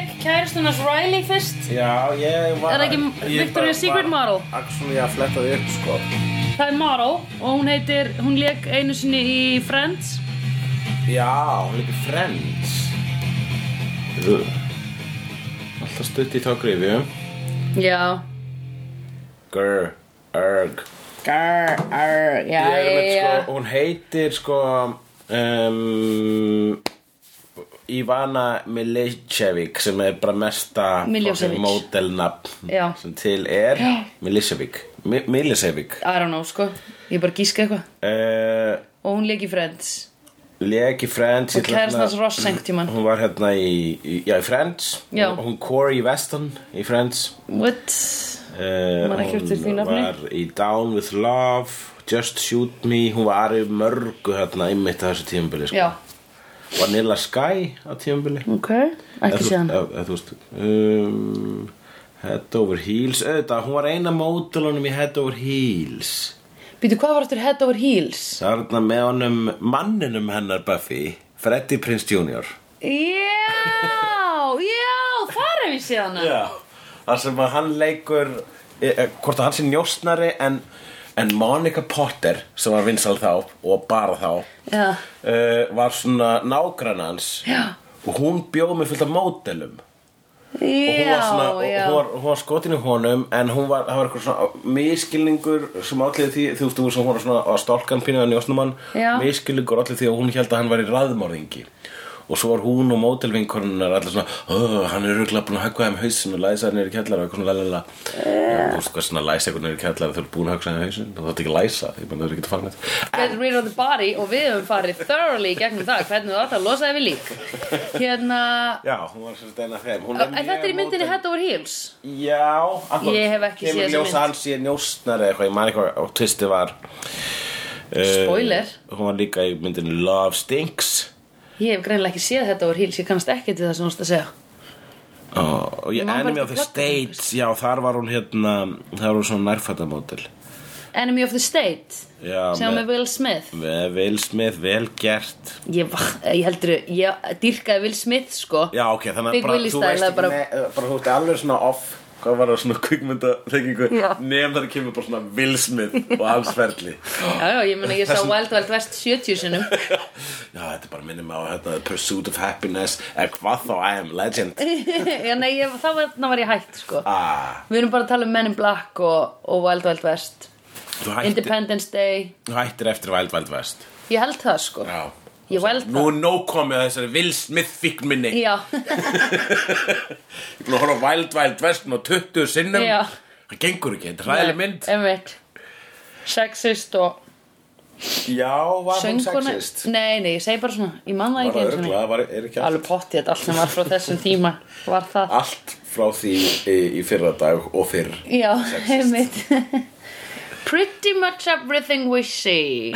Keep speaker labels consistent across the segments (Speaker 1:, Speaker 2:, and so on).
Speaker 1: Kristjánars Riley fyrst
Speaker 2: Já, ég var...
Speaker 1: Er það ekki
Speaker 2: ég
Speaker 1: Victoria's
Speaker 2: bara
Speaker 1: Secret
Speaker 2: var
Speaker 1: model?
Speaker 2: Actually að fletta því upp, sko.
Speaker 1: Það er Maro og hún heitir, hún leik einu sinni í Friends
Speaker 2: Já, hún líka Friends. Ugh. Alltaf stutt í þá grifju.
Speaker 1: Já,
Speaker 2: Grr, erg.
Speaker 1: Grr, arr, já,
Speaker 2: Ég er
Speaker 1: já,
Speaker 2: með,
Speaker 1: já
Speaker 2: sko, hún heitir, sko, um, Ivana Milicevic sem er bara mesta
Speaker 1: Miljosevic.
Speaker 2: mótelnafn
Speaker 1: Já.
Speaker 2: sem til er Milicevic. Mi- Milicevic.
Speaker 1: I don't know, sko, ég er bara að gíska eitthvað
Speaker 2: Uh,
Speaker 1: Og hún leik í Friends
Speaker 2: Leki Friends ég
Speaker 1: Og
Speaker 2: ætla hérna-
Speaker 1: kærastans Ross Sanktuman
Speaker 2: Hún var hérna í, í, já, í Friends
Speaker 1: Já.
Speaker 2: Hún, hún Corey Weston í Friends
Speaker 1: What?
Speaker 2: uh,
Speaker 1: Man ekki eftir því
Speaker 2: Hún
Speaker 1: nafni.
Speaker 2: var í Down with Love Just Shoot Me Hún var í mörgu hérna einmitt á þessu tímabili sko.
Speaker 1: Já,
Speaker 2: Vanilla Sky á tímabili
Speaker 1: ok, ekki séðan
Speaker 2: Eða þú veist um, Head Over Heels Þetta, hún var eina mótilunum í Head Over Heels
Speaker 1: Býtu, hvað var eftir Head Over Heels?
Speaker 2: Það var hérna með honum manninum hennar Buffy Freddie Prinze Jr.
Speaker 1: Já, já, þar hef ég séð hana
Speaker 2: Já, það sem að hann leikur e, e, hvort að hann sé njóstnari en, en Monica Potter sem var vinsal þá og bara þá
Speaker 1: Já,
Speaker 2: e, var svona nágrannans
Speaker 1: Já.
Speaker 2: og hún bjóð með fullt af módelum og hún
Speaker 1: já,
Speaker 2: var, svona, og,
Speaker 1: já.
Speaker 2: hún var, hún var skotin í honum en hún var, það var eitthvað svona miskilningur sem allir því, þú veist, hún var svona að stálkan pínu að njóstnum hann
Speaker 1: Já.
Speaker 2: miskilningur allir því að hún held að hann var í raðmörðingi og svo var hún og mótelvinkonunar allir svona, "Ugh, hann er röglega búin að höggva þeim hausin og læsa hann niður í kjallara og eitthvað svona lalala
Speaker 1: Eh.
Speaker 2: yeah. þú veist hvað svona læsa eitthvað niður í kjallara þegar þú er búin að höggva þeim hausin og þú ætti ekki að læsa því menn þú er ekki að fara neitt
Speaker 1: Get rid of the body og við höfum farið thoroughly í gegnum það hvernig þú átt að losa þið við lík Hérna,
Speaker 2: Já, hún var svolítið eina af þeim Hún
Speaker 1: en þetta er í myndinni Head Over Heels
Speaker 2: Já, akkur,
Speaker 1: Ég hef ekki séð þessa
Speaker 2: Kemur ljósa
Speaker 1: mynd.
Speaker 2: hans í njóstnari eitthvað, ég man eitthvað og tvisti var eh,
Speaker 1: Spoiler.
Speaker 2: Hún var líka í myndinni Love Stinks
Speaker 1: Ég hef greinlega ekki séð Head Over Heels, ég kannast ekkert við það sem hún stað að segja
Speaker 2: og, og
Speaker 1: Ég
Speaker 2: ég
Speaker 1: man bara
Speaker 2: enni mig á
Speaker 1: ekki
Speaker 2: því
Speaker 1: plotinu,
Speaker 2: States Já, þar var hún hérna, þar var hún svona nærfættamótil
Speaker 1: Enemy of the State,
Speaker 2: Já,
Speaker 1: sem með Will Smith
Speaker 2: með Will Smith, vel gert
Speaker 1: Ég, var- ég heldur, ég dýrkaði Will Smith, sko
Speaker 2: Já, ok, þannig
Speaker 1: Big
Speaker 2: að bara,
Speaker 1: Willy
Speaker 2: þú
Speaker 1: style,
Speaker 2: veist
Speaker 1: það
Speaker 2: ekki
Speaker 1: er bara-
Speaker 2: ne- eh, bara þú ert alveg svona off hvað var það svona kvikmynda þekkingu
Speaker 1: Já.
Speaker 2: nefn þar kemur bara svona Will Smith og hans ferli
Speaker 1: já, já, ég meina, ég sá Wild Wild West 70 sinum
Speaker 2: Já, þetta bara minnir mig á hérna, The Pursuit of Happiness eða hvað þá I am legend
Speaker 1: Já, nei, ég, þá var, þá var ég hægt, sko
Speaker 2: ah,
Speaker 1: Við erum bara að tala um Men in Black og, og Wild Wild West
Speaker 2: þú, hættir,
Speaker 1: Independence Day
Speaker 2: þú hættir eftir Wild Wild West
Speaker 1: Ég held það sko
Speaker 2: Já
Speaker 1: Ég held
Speaker 2: Nú
Speaker 1: það
Speaker 2: er nóg komið að þessari Will Smith fíkn minni
Speaker 1: Já,
Speaker 2: Ég er búin að horfa á Wild Wild West nú 20 sinnum
Speaker 1: Já.
Speaker 2: Það gengur ekki, þetta er ræðileg mynd
Speaker 1: Einmitt Sexist og
Speaker 2: Já, var
Speaker 1: sönguna Nei, nei, ég segi bara svona Ég man það
Speaker 2: Var
Speaker 1: ekki
Speaker 2: það
Speaker 1: einu sinni.
Speaker 2: örgla, var, er ekki allt,
Speaker 1: Alveg potti þetta allt sem var frá þessum tíma Var það
Speaker 2: allt frá því í, í fyrra dag og fyrr
Speaker 1: Já, einmitt Pretty much everything we see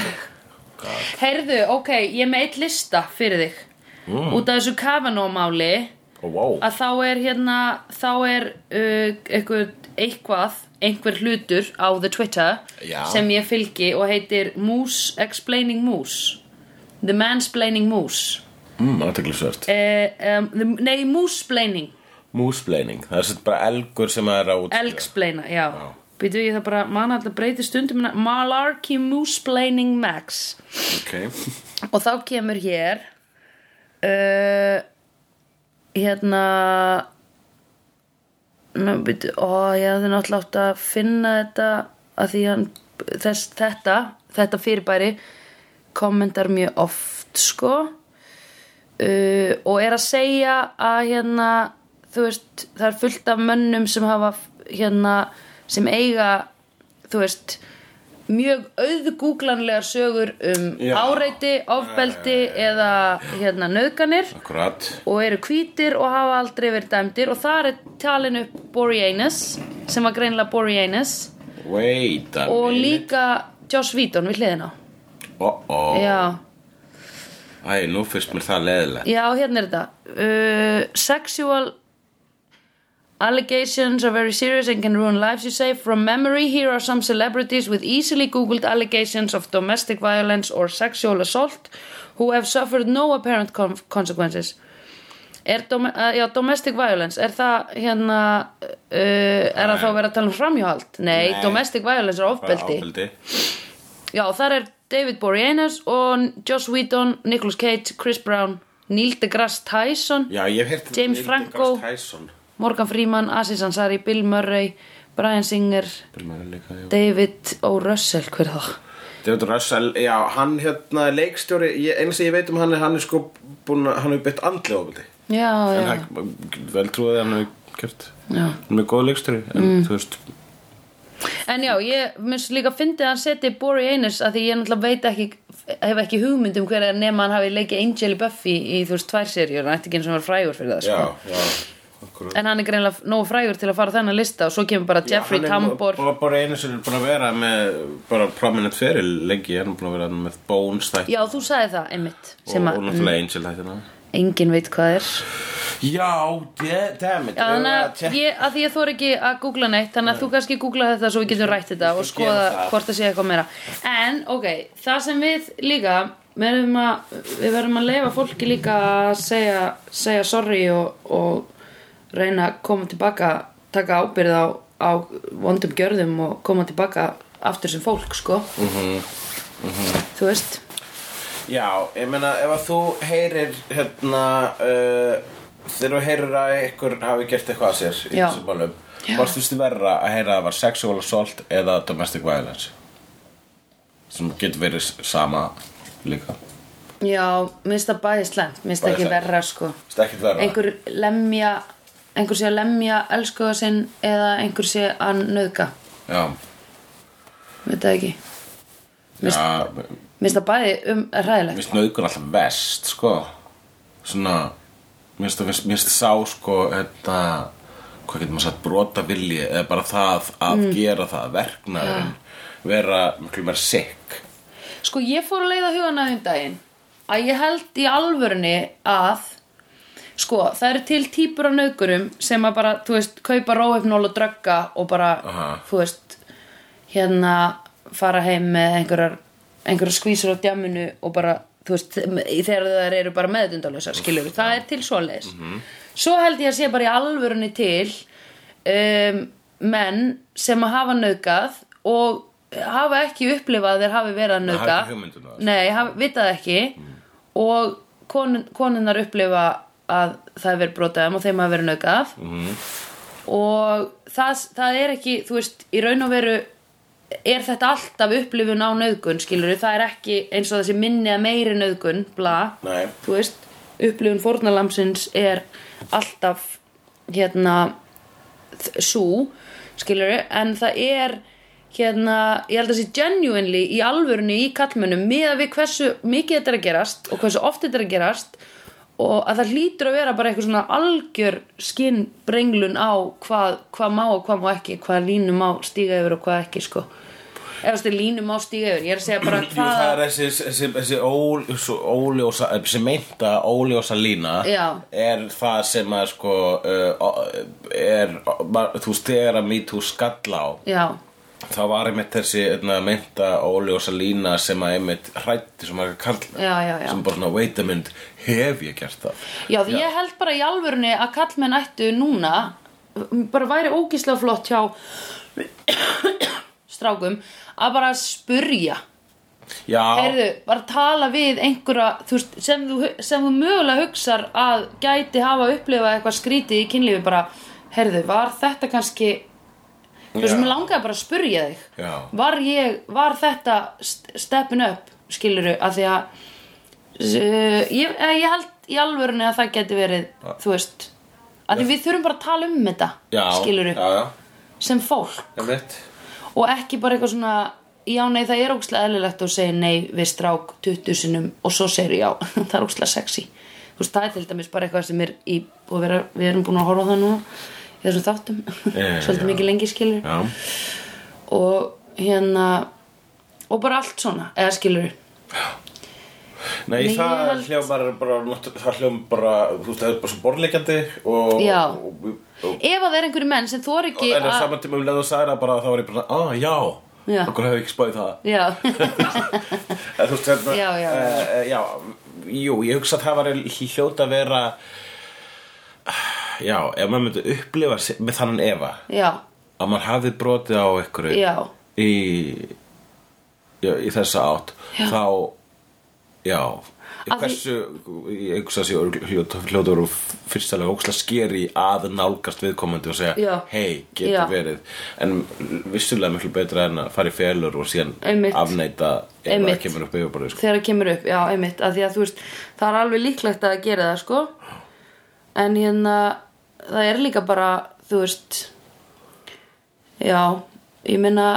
Speaker 1: Heyrðu, ok, ég er með eitt lista fyrir þig Út af þessu Kavanaugh-máli
Speaker 2: oh, wow.
Speaker 1: að þá er hérna þá er uh, eitthvað, eitthvað einhver hlutur á the Twitter
Speaker 2: Já.
Speaker 1: sem ég fylgi og heitir Moose Explaining Moose The Mansplaining Moose
Speaker 2: mm, Aðteklisvert
Speaker 1: uh, um, the, Nei, Moosesplaining
Speaker 2: Músbleining, það er sem sagt bara elgur sem er á
Speaker 1: Elgsplaina, já, já. Býtu ég það bara, mann alltaf breytir stundum minna- Malarkey Moosesplaining Max
Speaker 2: okay.
Speaker 1: Og þá kemur hér uh, Hérna Ná, byrju, ó, ég hefði náttúrulega átt að finna þetta að því hann, þess, þetta, þetta fyrirbæri kommentar mjög oft, sko uh, og er að segja að hérna, þú veist það er fullt af mönnum sem hafa hérna, sem eiga þú veist mjög auðgúglanlegar sögur um
Speaker 2: Já.
Speaker 1: áreiti, ofbeldi eða hérna nöðganir
Speaker 2: Akkurat
Speaker 1: og eru hvítir og hafa aldrei verið dæmdir og þar er talin upp Boreanaz sem var greinilega Boreanaz
Speaker 2: Wait a
Speaker 1: og
Speaker 2: minute
Speaker 1: líka Josh Whedon við hliðina
Speaker 2: oh -oh.
Speaker 1: Já,
Speaker 2: Æ, nú fyrst mér það leðilegt
Speaker 1: já hérna er þetta uh, Sexual allegations are very serious and can ruin lives you say From memory here are some celebrities with easily googled allegations of domestic violence or sexual assault who have suffered no apparent con consequences Er dome, eh, já, domestic violence, er það hérna, uh, er það þá verið að tala um framhjóhald? Nei,
Speaker 2: Nei.
Speaker 1: domestic violence er ofbeldi.
Speaker 2: ábeldi
Speaker 1: Já, þar er David Boreanaz og Joss Whedon, Nicolas Cage, Chris Brown, Neil deGrasse Tyson,
Speaker 2: Já, ég hef heyrt
Speaker 1: James
Speaker 2: Neil
Speaker 1: Franco.
Speaker 2: deGrasse Tyson
Speaker 1: Morgan Freeman, Aziz Ansari, Bill Murray, Brian Singer,
Speaker 2: Bill Murray líka, já. David
Speaker 1: David O'Russell, hver er það?
Speaker 2: Russell, já, hann hérna er leikstjóri, ég, eins og ég veit um hann er hann er sko búin að, hann hefur bett andlega ofbeldi
Speaker 1: Já, já,
Speaker 2: en hann, vel trúið að hann hefur gert
Speaker 1: já.
Speaker 2: hann er með góð leikstjóri, en
Speaker 1: Mm.
Speaker 2: þú veist
Speaker 1: En já, ég minnst líka fyndið að hann seti Bori Einars að því ég náttúrulega veit ekki hef ekki hugmynd um hver er nema hann hafi leikið Angel í Buffy í þú veist tvær serjur hann ætti ekki eins og hann var frægur fyrir það sko.
Speaker 2: já, okkur
Speaker 1: en hann er greinlega nógu frægur til að fara á þennan lista og svo kemur bara Jeffrey Tambor
Speaker 2: bara einu sem er búin að vera með bara prominent feril lengi hann er búin að vera með Bones þætt
Speaker 1: Já, þú sagði það, einmitt
Speaker 2: og,
Speaker 1: sem
Speaker 2: og
Speaker 1: að mm.
Speaker 2: náttúrulega Angel þættina
Speaker 1: engin veit hvað er
Speaker 2: já, de- damn
Speaker 1: Já,
Speaker 2: it við erum
Speaker 1: þannig
Speaker 2: að
Speaker 1: að
Speaker 2: tékka-
Speaker 1: ég, að því ég þor ekki að googla neitt þannig að þú kannski googla þetta svo við getum rætt þetta og
Speaker 2: Ég
Speaker 1: skoða
Speaker 2: gera það.
Speaker 1: hvort það sé eitthvað meira en ok, það sem við líka við verðum að, við verðum að leifa fólki líka að segja, segja sorry og, og reyna að koma tilbaka taka ábyrð á, á vondum gjörðum og koma tilbaka aftur sem fólk sko mm
Speaker 2: Mhm,
Speaker 1: -hmm. þú veist
Speaker 2: Já, ég meina ef að þú heyrir hérna uh, þegar þú heyrir að ykkur hafi gert eitthvað að sér í
Speaker 1: Já.
Speaker 2: þessum málum
Speaker 1: Já.
Speaker 2: varst þú stu verra að heyra að það var sexual assault eða domestic violence sem getur verið s- sama líka
Speaker 1: já, minnst það bæði slæmt minnst
Speaker 2: Bæði
Speaker 1: ekki
Speaker 2: slæmt.
Speaker 1: verra sko
Speaker 2: Vist ekkert verra
Speaker 1: einhver lemja einhver sé að lemja elskuða sinn eða einhver sé að nöðga
Speaker 2: Já,
Speaker 1: veit það ekki Mist-
Speaker 2: já
Speaker 1: minnst það bæði um ræðilegt
Speaker 2: minnst nöðgun alltaf vest sko svona minnst, minnst, minnst sá sko þetta hvað getur maður sagt brota vilji eða bara það að gera það verknaðurinn vera miklu meira sick
Speaker 1: sko ég fór að leiða hugana um daginn að ég held í alvörunni að sko það eru til típur af nöðgurum sem að bara, þú veist, kaupa róhefnól og drögga og bara,
Speaker 2: Aha.
Speaker 1: þú veist hérna fara heim með einhverjar einhverjar skvísur á djaminu og bara, þú veist, þegar það eru bara meðutundalösa, skilur við, það er til svoleiðis
Speaker 2: Mhm.
Speaker 1: svo held ég að sé bara í alvörunni til um, menn sem að hafa nöðgað og hafa ekki upplifað að þeir hafi verið að
Speaker 2: hafa
Speaker 1: nöðga
Speaker 2: ekki hugmynd um það.
Speaker 1: Nei, hann vitað ekki og konun, konunnar upplifa að það er verið brotaðum og þeim að verið nöggað mm. og það, það er ekki, þú veist, í raun og veru er þetta alltaf upplifun á nöðgun, skilur það er ekki eins og þessi minni að meiri nöðgun, bla,
Speaker 2: Nei.
Speaker 1: þú veist, upplifun fórnalamsins er alltaf, hérna, svo skilur en það er hérna, ég held að sé genuinely í alvörunni í kallmönnum með að við hversu mikið þetta er að gerast og hversu oft þetta er að gerast og að það hlýtur að vera bara eitthvað svona algjör skinnbrenglun á hvað, hvað má og hvað má ekki hvað línu má stíga yfir og hvað ekki sko. ef þessi línu má stíga yfir ég er að segja bara
Speaker 2: Jú, það er
Speaker 1: hvað
Speaker 2: þessi, þessi, þessi ól, svo óljósa, eh, þessi meinta óljósa lína
Speaker 1: Já.
Speaker 2: er það sem að sko uh, o- er, ma- þú veist, þegar að mýtu skalla á
Speaker 1: já,
Speaker 2: þá var einmitt þessi einna, meinta óljósa lína sem að einmitt hrætti sem að kalla
Speaker 1: Já, já, já.
Speaker 2: sem bara svona, wait a minute, hef ég gert það
Speaker 1: já því ég held bara í alvörunni að kallmenn ættu núna bara væri ógislega flott hjá strákum að bara spurja
Speaker 2: Já,
Speaker 1: Heyrðu, bara tala við einhverja þú veist, sem, þú, sem þú mögulega hugsar að gæti hafa upplifað eitthvað skrítið í kynlífi bara, heyrðu, var þetta kannski þú veist,
Speaker 2: Já.
Speaker 1: mér langaði bara að spurja þig
Speaker 2: Já.
Speaker 1: var ég, var þetta st- steppin upp, skiluru að því að uh, ég, eh, ég held í alvörunni að það geti verið, þú veist að því við þurfum bara að tala um þetta
Speaker 2: já,
Speaker 1: skiluru,
Speaker 2: Já, já,
Speaker 1: sem fólk
Speaker 2: einmitt
Speaker 1: og ekki bara eitthvað svona já nei það er ógstlega eðlilegt að segja nei við strák 20 sinnum og svo segir já það er ógstlega sexy þú veist það er til dæmis bara eitthvað sem er í og vera, við erum búin að horfa á það nú í þessum þáttum
Speaker 2: Eh,
Speaker 1: svolítið
Speaker 2: já.
Speaker 1: mikið lengi skilur
Speaker 2: Já,
Speaker 1: og hérna og bara allt svona eða skilur
Speaker 2: Nei,
Speaker 1: Nei,
Speaker 2: það
Speaker 1: ég held-
Speaker 2: hljá bara, bara, náttú- það hljá bara, þú veist, það er bara svo borðleikjandi og,
Speaker 1: Já.
Speaker 2: og, og,
Speaker 1: ef að það er einhverju menn sem þor
Speaker 2: og
Speaker 1: ekki
Speaker 2: en á
Speaker 1: að
Speaker 2: saman tíma um leðu særa bara þá var ég bara, að, já,
Speaker 1: Já.
Speaker 2: okkur hefði ekki spáðið það.
Speaker 1: já,
Speaker 2: En Eh, þú veist, hérna, þetta,
Speaker 1: Já, já, já.
Speaker 2: eh, eh, já, jú, ég hugsa að það var hljóta að vera já, ef maður myndi upplifa sig- með þannan efa
Speaker 1: já,
Speaker 2: að maður hafi brotið á einhverju
Speaker 1: já,
Speaker 2: í, já, í þessa átt þá já
Speaker 1: Af því-
Speaker 2: hversu, ég hugsa að sé hljóta voru fyrstilega óksla skeri að nálgast viðkomandi og segja
Speaker 1: Já.
Speaker 2: hei, getur
Speaker 1: Já.
Speaker 2: verið en vissulega miklu betra en að fara í felur og síðan
Speaker 1: Einmitt.
Speaker 2: afneita ef
Speaker 1: Einmitt.
Speaker 2: það kemur upp yfirborðið sko.
Speaker 1: þegar það kemur upp, já, einmitt að því að þú veist, það er alveg líklegt að gera það sko, en hérna það er líka bara þú veist já, ég meina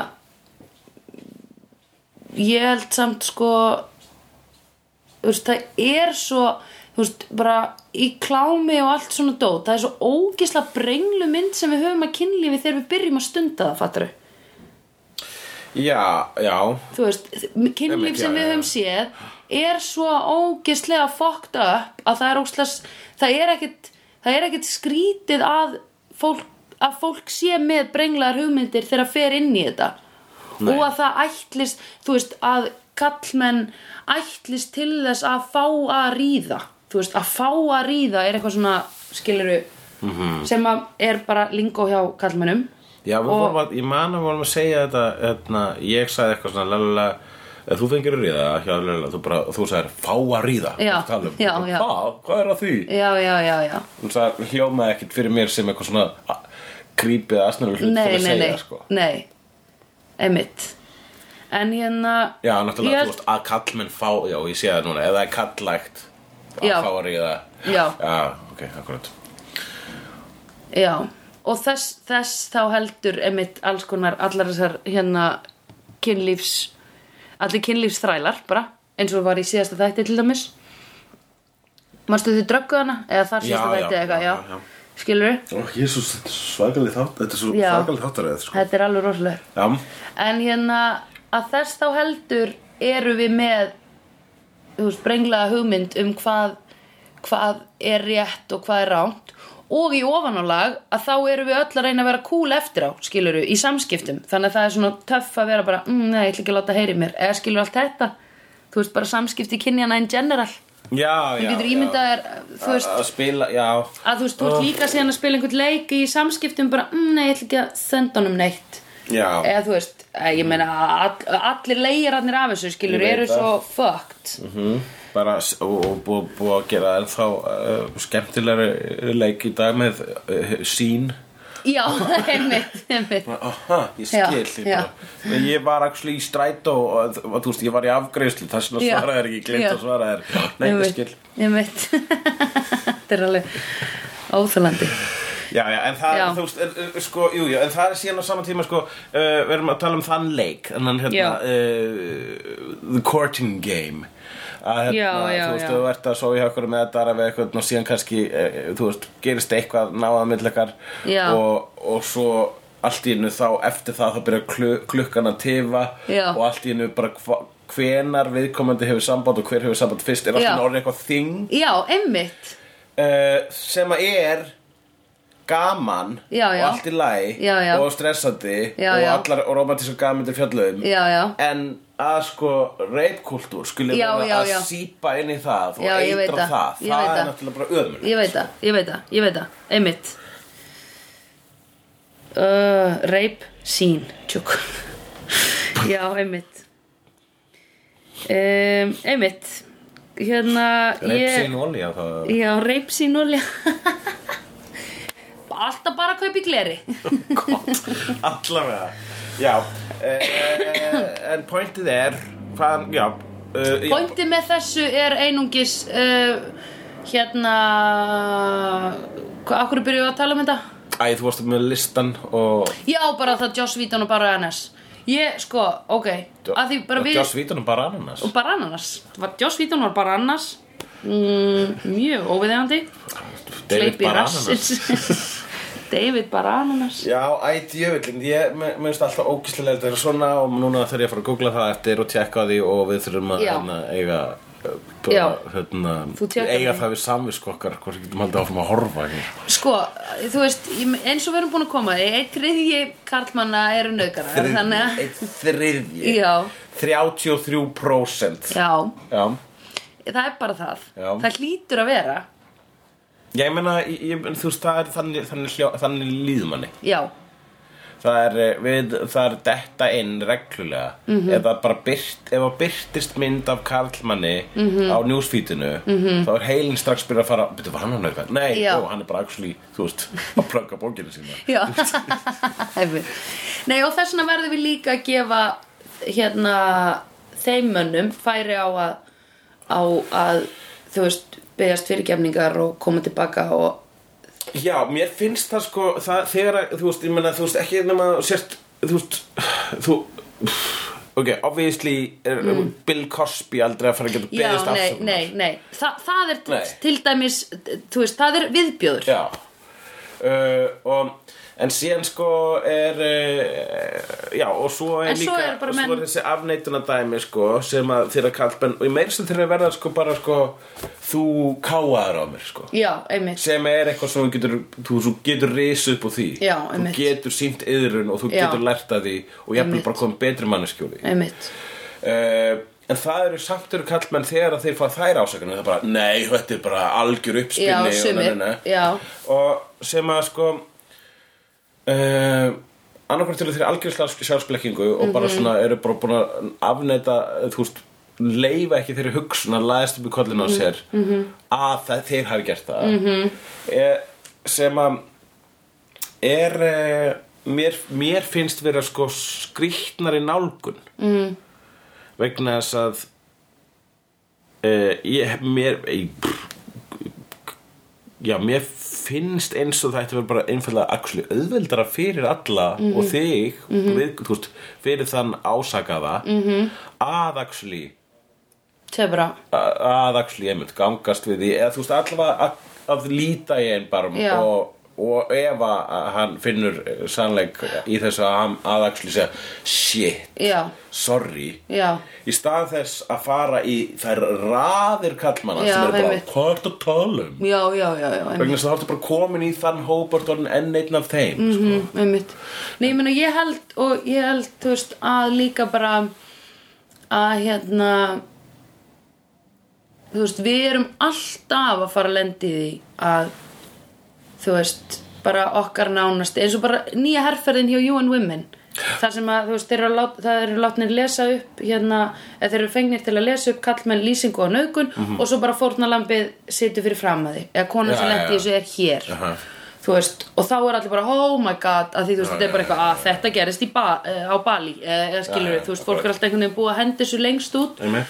Speaker 1: ég held samt sko þú veist, það er svo þú veist, bara í klámi og allt svona dót, það er svo ógisla brenglu mynd sem við höfum að kynlífi þegar við byrjum að stunda það, fattur
Speaker 2: já, já,
Speaker 1: þú veist,
Speaker 2: Einmitt,
Speaker 1: kynlíf
Speaker 2: já,
Speaker 1: sem
Speaker 2: já,
Speaker 1: við
Speaker 2: já.
Speaker 1: höfum séð er svo ógislega fucked up að það er óslas það er ekkit, það er ekkit skrítið að fólk, að fólk sé með brenglaðar hugmyndir þegar það fer inn í þetta
Speaker 2: Nei.
Speaker 1: og að það ætlist, þú veist, að kallmenn ætlist til þess að fá að ríða þú veist, að fá að ríða er eitthvað svona skiluru
Speaker 2: Mhm.
Speaker 1: -hmm. sem að er bara lingó hjá kallmennum
Speaker 2: já og... vorum, að, ég man að við vorum að segja þetta hérna, ég sagði eitthvað svona lalala Ef "Eh, þú fengir að ríða, hjá, lalala, þú, bara, þú sagðir fá að ríða
Speaker 1: Já,
Speaker 2: þú talar um.
Speaker 1: já, já.
Speaker 2: Hvað, hvað er að því?
Speaker 1: já, já, já, já
Speaker 2: hún sagði, hljómaði ekkert fyrir mér sem eitthvað svona grípið að asnur hlut
Speaker 1: nei,
Speaker 2: til
Speaker 1: nei,
Speaker 2: að segja
Speaker 1: nei,
Speaker 2: sko.
Speaker 1: nei emitt en hérna
Speaker 2: já, náttúrulega,
Speaker 1: ég
Speaker 2: þú veist, að kallmenn fá já, ég sé það núna, ef það er kallægt að
Speaker 1: Já.
Speaker 2: fá að ríða
Speaker 1: Já.
Speaker 2: já ok, akkurat
Speaker 1: já, og þess, þess þá heldur emitt alls konar allar þessar hérna kynlífs allir kynlífsþrælar bara eins og var í síðasta þætti til dæmis manstu þið dröggu hana eða þar
Speaker 2: Já,
Speaker 1: síðasta
Speaker 2: já,
Speaker 1: þætti eða eitthvað,
Speaker 2: já,
Speaker 1: já,
Speaker 2: já, já.
Speaker 1: skilur
Speaker 2: Ó, Jésús, þetta er svakalið þátt Þetta er svo
Speaker 1: Já.
Speaker 2: þáttaræð sko.
Speaker 1: þetta er alveg rosalegt
Speaker 2: Já,
Speaker 1: En hérna að þess þá heldur eru við með þú veist, brenglaða hugmynd um hvað, hvað er rétt og hvað er rámt og í ofanálag að þá eru við öll að reyna að vera cool eftir á, skiluru, í samskiptum þannig að það er svona töff að vera bara mm, nei, ég ætla ekki að láta heyri mér, eða skilur allt þetta þú veist, bara samskipti kynjana in general þú
Speaker 2: já, já
Speaker 1: getur
Speaker 2: já.
Speaker 1: ímyndað þér, þú veist
Speaker 2: Að spila, já
Speaker 1: að þú veist, þú ert líka síðan að spila einhvern leik í samskiptum bara, mm, nei, ég ætla ekki að senda honum neitt
Speaker 2: Já,
Speaker 1: eða þú veist, eh, ég meina all, allir leigjararnir af þessu skilur
Speaker 2: Ég veit
Speaker 1: eru
Speaker 2: það.
Speaker 1: svo fucked
Speaker 2: mhm. bara s- og, og búið bú að gera ennþá uh, skemmtilegri leik í dag með uh, sín
Speaker 1: já, einmitt, einmitt
Speaker 2: Aha, ég skil
Speaker 1: Já,
Speaker 2: ég,
Speaker 1: já.
Speaker 2: bara, Men ég var actually í strætó og, og þú veist, ég var í afgreiðslu þess að
Speaker 1: Já,
Speaker 2: svara þér ekki, glimt
Speaker 1: já.
Speaker 2: að svara þér Nei, ég skil
Speaker 1: einmitt, einmitt. þetta er alveg óþalandi
Speaker 2: Já, já, en það,
Speaker 1: Já.
Speaker 2: þú veist, er, er, sko, jú, jú, en það er síðan á sama tíma, sko, uh, við erum að tala um þann leik,
Speaker 1: Já.
Speaker 2: þannig hérna, uh, the courting game að hérna,
Speaker 1: Já, já,
Speaker 2: þú veist,
Speaker 1: já.
Speaker 2: þú ert að sofa í hökkur með þetta aðra við eitthvað og síðan kannski, uh, þú veist, gerist eitthvað náðað millekar
Speaker 1: Já.
Speaker 2: og, og svo allt í einu þá eftir það þá byrja klu, klukkan að tifa
Speaker 1: Já.
Speaker 2: og allt í einu bara hva, hvenar viðkomandi hefur samband og hver hefur samband fyrst er allt í
Speaker 1: Já.
Speaker 2: einu orðið eitthvað þing
Speaker 1: já, einmitt
Speaker 2: Eh, sem að er gaman
Speaker 1: Já, já.
Speaker 2: og allt í læ
Speaker 1: Já, já.
Speaker 2: og stressandi
Speaker 1: Já,
Speaker 2: og
Speaker 1: já.
Speaker 2: allar og romantísku gamindir fjalluðum
Speaker 1: Já, já.
Speaker 2: en að sko reipkultúr skuli
Speaker 1: Já,
Speaker 2: vera
Speaker 1: já,
Speaker 2: að
Speaker 1: já.
Speaker 2: sípa inn í það og
Speaker 1: Já, ég veit
Speaker 2: eitra
Speaker 1: það.
Speaker 2: það
Speaker 1: Ég
Speaker 2: það
Speaker 1: veit
Speaker 2: er
Speaker 1: það.
Speaker 2: náttúrulega bara öðmur
Speaker 1: ég veit það, ég veit það, ég veit það, einmitt uh, reip sín tjúk já, einmitt um, einmitt hérna ég-
Speaker 2: reipsin olja það
Speaker 1: Já, reipsín olja Alltaf bara að kaupa í gleri
Speaker 2: allavega já uh, en pointið er hvað, já, uh, já
Speaker 1: Pointið með þessu er einungis uh, Hérna Hvað, af hverju byrjuðu að tala um þetta?
Speaker 2: Æ, þú varst með listan og
Speaker 1: Já, bara það Joss Vítan og bara NS Ég, sko, ok Að því bara við
Speaker 2: Joss Vítunum bara ananas
Speaker 1: og bara annars Var- Joss Vítan var bara annars mm, Mjög óviðegandi
Speaker 2: David
Speaker 1: Hleyp í
Speaker 2: bara ananas
Speaker 1: rassinn. David bara ananas
Speaker 2: Já, ætti jöfullin, ég mér mér finnst alltaf ógíslega þetta er svona og núna þarf ég að fara að googla það eftir og tjekka á því og við þurfum að
Speaker 1: Já.
Speaker 2: hérna, eiga uh,
Speaker 1: Já.
Speaker 2: bara, hérna,
Speaker 1: Þú tjekkar
Speaker 2: eiga
Speaker 1: það.
Speaker 2: það við samvisku okkar hvort við getum haldið áfram að horfa hér.
Speaker 1: Sko, þú veist, ég- eins og við erum búin að koma því, einn þriðji karlmanna eru nöðgarar, þannig að,
Speaker 2: Eitt þriðji
Speaker 1: Já.
Speaker 2: 33%
Speaker 1: já,
Speaker 2: Já,
Speaker 1: það er bara það.
Speaker 2: Já.
Speaker 1: Það hlýtur að vera.
Speaker 2: Já, ég meina, ég, ég- þú veist, það er þannig, þannig, hljó, þannig líðmanni
Speaker 1: Já,
Speaker 2: það er, eh, við, það er detta inn reglulega
Speaker 1: Mhm.
Speaker 2: eða bara byrt, ef að byrtist mynd af karlmanni
Speaker 1: Mhm.
Speaker 2: á newsfeedinu -hmm. þá er heilin strax byrjað að fara betur, var hann að nauka? Nei,
Speaker 1: Já.
Speaker 2: ó, hann er bara actually, þú veist, að plugga bókinu sína
Speaker 1: já Einmitt. Nei og þess vegna verðum við líka að gefa hérna þeim mönnum færi á að á að þú veist byggjast fyrirgefningar og koma tilbaka og
Speaker 2: Já, mér finnst það sko það, þegar að, þú veist, ég meina, þú veist, ekki nema þú sért, þú veist þú, ok, obviously er Bill Cosby aldrei að fara að geta
Speaker 1: Mhm. Já,
Speaker 2: beðist
Speaker 1: nei,
Speaker 2: afsökunar.
Speaker 1: nei, nei Þa, Það er
Speaker 2: Nei.
Speaker 1: til dæmis þú veist, það er viðbjóður
Speaker 2: Já uh, og, En síðan sko er uh, Já og svo er
Speaker 1: En svo
Speaker 2: líka
Speaker 1: eru bara
Speaker 2: og
Speaker 1: menn-
Speaker 2: Svo er þessi afneitunadæmi sko Sem að þeirra kallmenn Og í meirstu þeirra verða sko bara sko Þú káaðar á mér sko
Speaker 1: Já, einmitt
Speaker 2: sem er eitthvað sem þú getur, þú, þú getur risið upp á því
Speaker 1: Já,
Speaker 2: þú
Speaker 1: einmitt.
Speaker 2: getur sínt yðrun og þú
Speaker 1: Já.
Speaker 2: getur lært að því og jafnvel bara komið betri manneskjóli
Speaker 1: Einmitt
Speaker 2: uh, en það eru samt eru kallmenn þegar að þeir fá þær ásakana það er bara, nei, þetta er bara algjör
Speaker 1: Já,
Speaker 2: uppspilni
Speaker 1: sumir
Speaker 2: og, nei, nei, nei.
Speaker 1: Já,
Speaker 2: og sem að sko uh, annarkvæmt eru þeir algjör sjálfsblekkingu og bara svona eru bara búin að afneita eh, þú veist leifa ekki þeirri hugsun að laðast upp í kollin á sér að það, þeir hafi gert það -hmm. sem að er eh, mér, mér finnst vera sko skrýtnari nálgun mm. vegna þess að uh, ég, mér ég, pff, já, mér finnst eins og það ætti að vera bara einfallega actually auðveldara fyrir alla
Speaker 1: Mhm.
Speaker 2: og þig við, þú veist, fyrir þann ásakaða
Speaker 1: Mhm.
Speaker 2: -hmm. að actually
Speaker 1: töfra
Speaker 2: að að actually einmitt gangast við því eða þú veist allavega að, að líta í einn barm
Speaker 1: Já.
Speaker 2: og, og ef að að hann finnur eh, sannleik í þessu að, hann- að actually segja shit,
Speaker 1: Já,
Speaker 2: sorry
Speaker 1: já,
Speaker 2: í stað þess að fara í þær raðir kallmanna
Speaker 1: Já,
Speaker 2: sem eru bara
Speaker 1: einmitt.
Speaker 2: hvað er að tala um
Speaker 1: já, já, já, já einmitt
Speaker 2: vegna þess að það ertu bara komin í þann hópart orðin enn einn af þeim sko.
Speaker 1: mm, einmitt. Nei, ég meina, ég held og ég held, þú veist, að líka bara að hérna þú veist, við erum alltaf að fara að lendi því að þú veist, bara okkar nánast eins og bara nýja herferðin hjá UN Women þar sem að, þú veist, þeir eru, lát, það eru látnir lesa upp hérna, eða þeir eru fengnir til að lesa upp kallmenn lýsingu og nögun og svo bara fórnalambið situr fyrir fram að því eða konan
Speaker 2: Mhm. Já,
Speaker 1: sem lendi
Speaker 2: já.
Speaker 1: þessu er hér
Speaker 2: Aha.
Speaker 1: þú veist, og þá er allir bara oh my god, að því þú veist, þetta er bara eitthvað að þetta gerist í ba eh, á Bali eh, eða skilur við,
Speaker 2: Já, já,
Speaker 1: þú veist,
Speaker 2: akkurat.
Speaker 1: fólk er alltaf einhvern veginn búið að henda þessu lengst út
Speaker 2: Einmitt.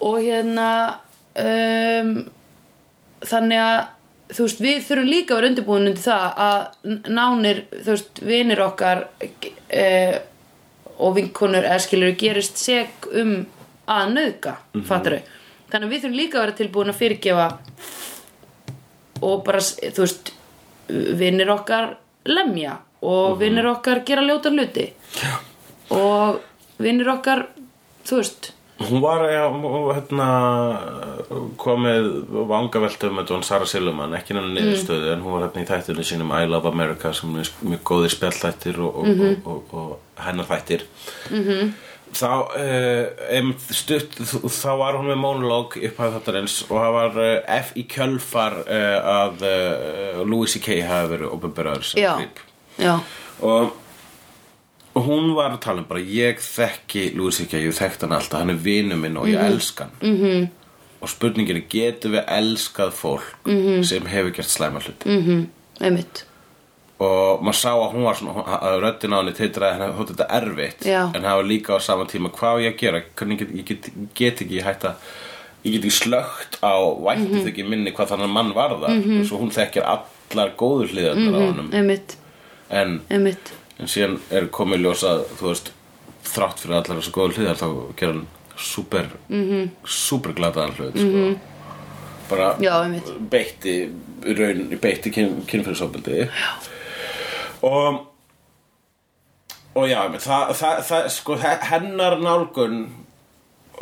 Speaker 1: og hérna um, þannig að þú veist, við þurfum líka að vera undirbúin undir það að n- nánir, þú veist, vinir okkar uh, og vinkonur eða skilur gerist seg um að nauðka, mm þannig að við þurfum líka að vera tilbúin að fyrirgefa og bara, s- þú veist vinnir okkar lemja og vinnir okkar gera ljóta hluti Já. og vinnir okkar þú veist,
Speaker 2: Hún var já, hún- hérna, komið vangaveltu um þetta hún Sara Silverman, ekki hennar niðurstöðu en hún var hérna í þættinu sínum I Love America sem er mjög góðir spjallþættir og, og, og, og, og hennar þættir mm -hmm. þá um, stutt, þá var hún með monolog upphæð þáttarins og það var uh, F í kjölfar uh, að uh, Louis C.K. hafi verið ofinberaður sem
Speaker 1: já,
Speaker 2: klip
Speaker 1: já.
Speaker 2: og og hún var að tala um bara ég þekki Louis C.K. ég þekkt hann alltaf, hann er vinu minn og ég elska hann -hmm. og spurningin er getum við elskað fólk -hmm. sem hefur gert slæma hluti mm.
Speaker 1: mhm, einmitt
Speaker 2: og maður sá að hún var svona hún- að röddin á henni titraði henni þótt þetta erfitt
Speaker 1: Já.
Speaker 2: en það var líka á sama tíma hvað á ég að gera hvernig get, ég get, get ekki hætt að ég get ekki slögt á væntið mm minni hvað þannig mann var það -hmm. svo hún þekkir allar góður hliðar á honum
Speaker 1: einmitt,
Speaker 2: en
Speaker 1: einmitt
Speaker 2: en síðan er komið ljós að þú veist, þrátt fyrir allar þessu góðu hliðar þá gera hann super mm
Speaker 1: Mhm.
Speaker 2: -hmm. super glataðan hlut sko. bara
Speaker 1: Já, einmitt.
Speaker 2: beitti í raun, beitti kyn, kynfyrirsofbildi og og já, einmitt, það, það, það sko, he- hennar nálgun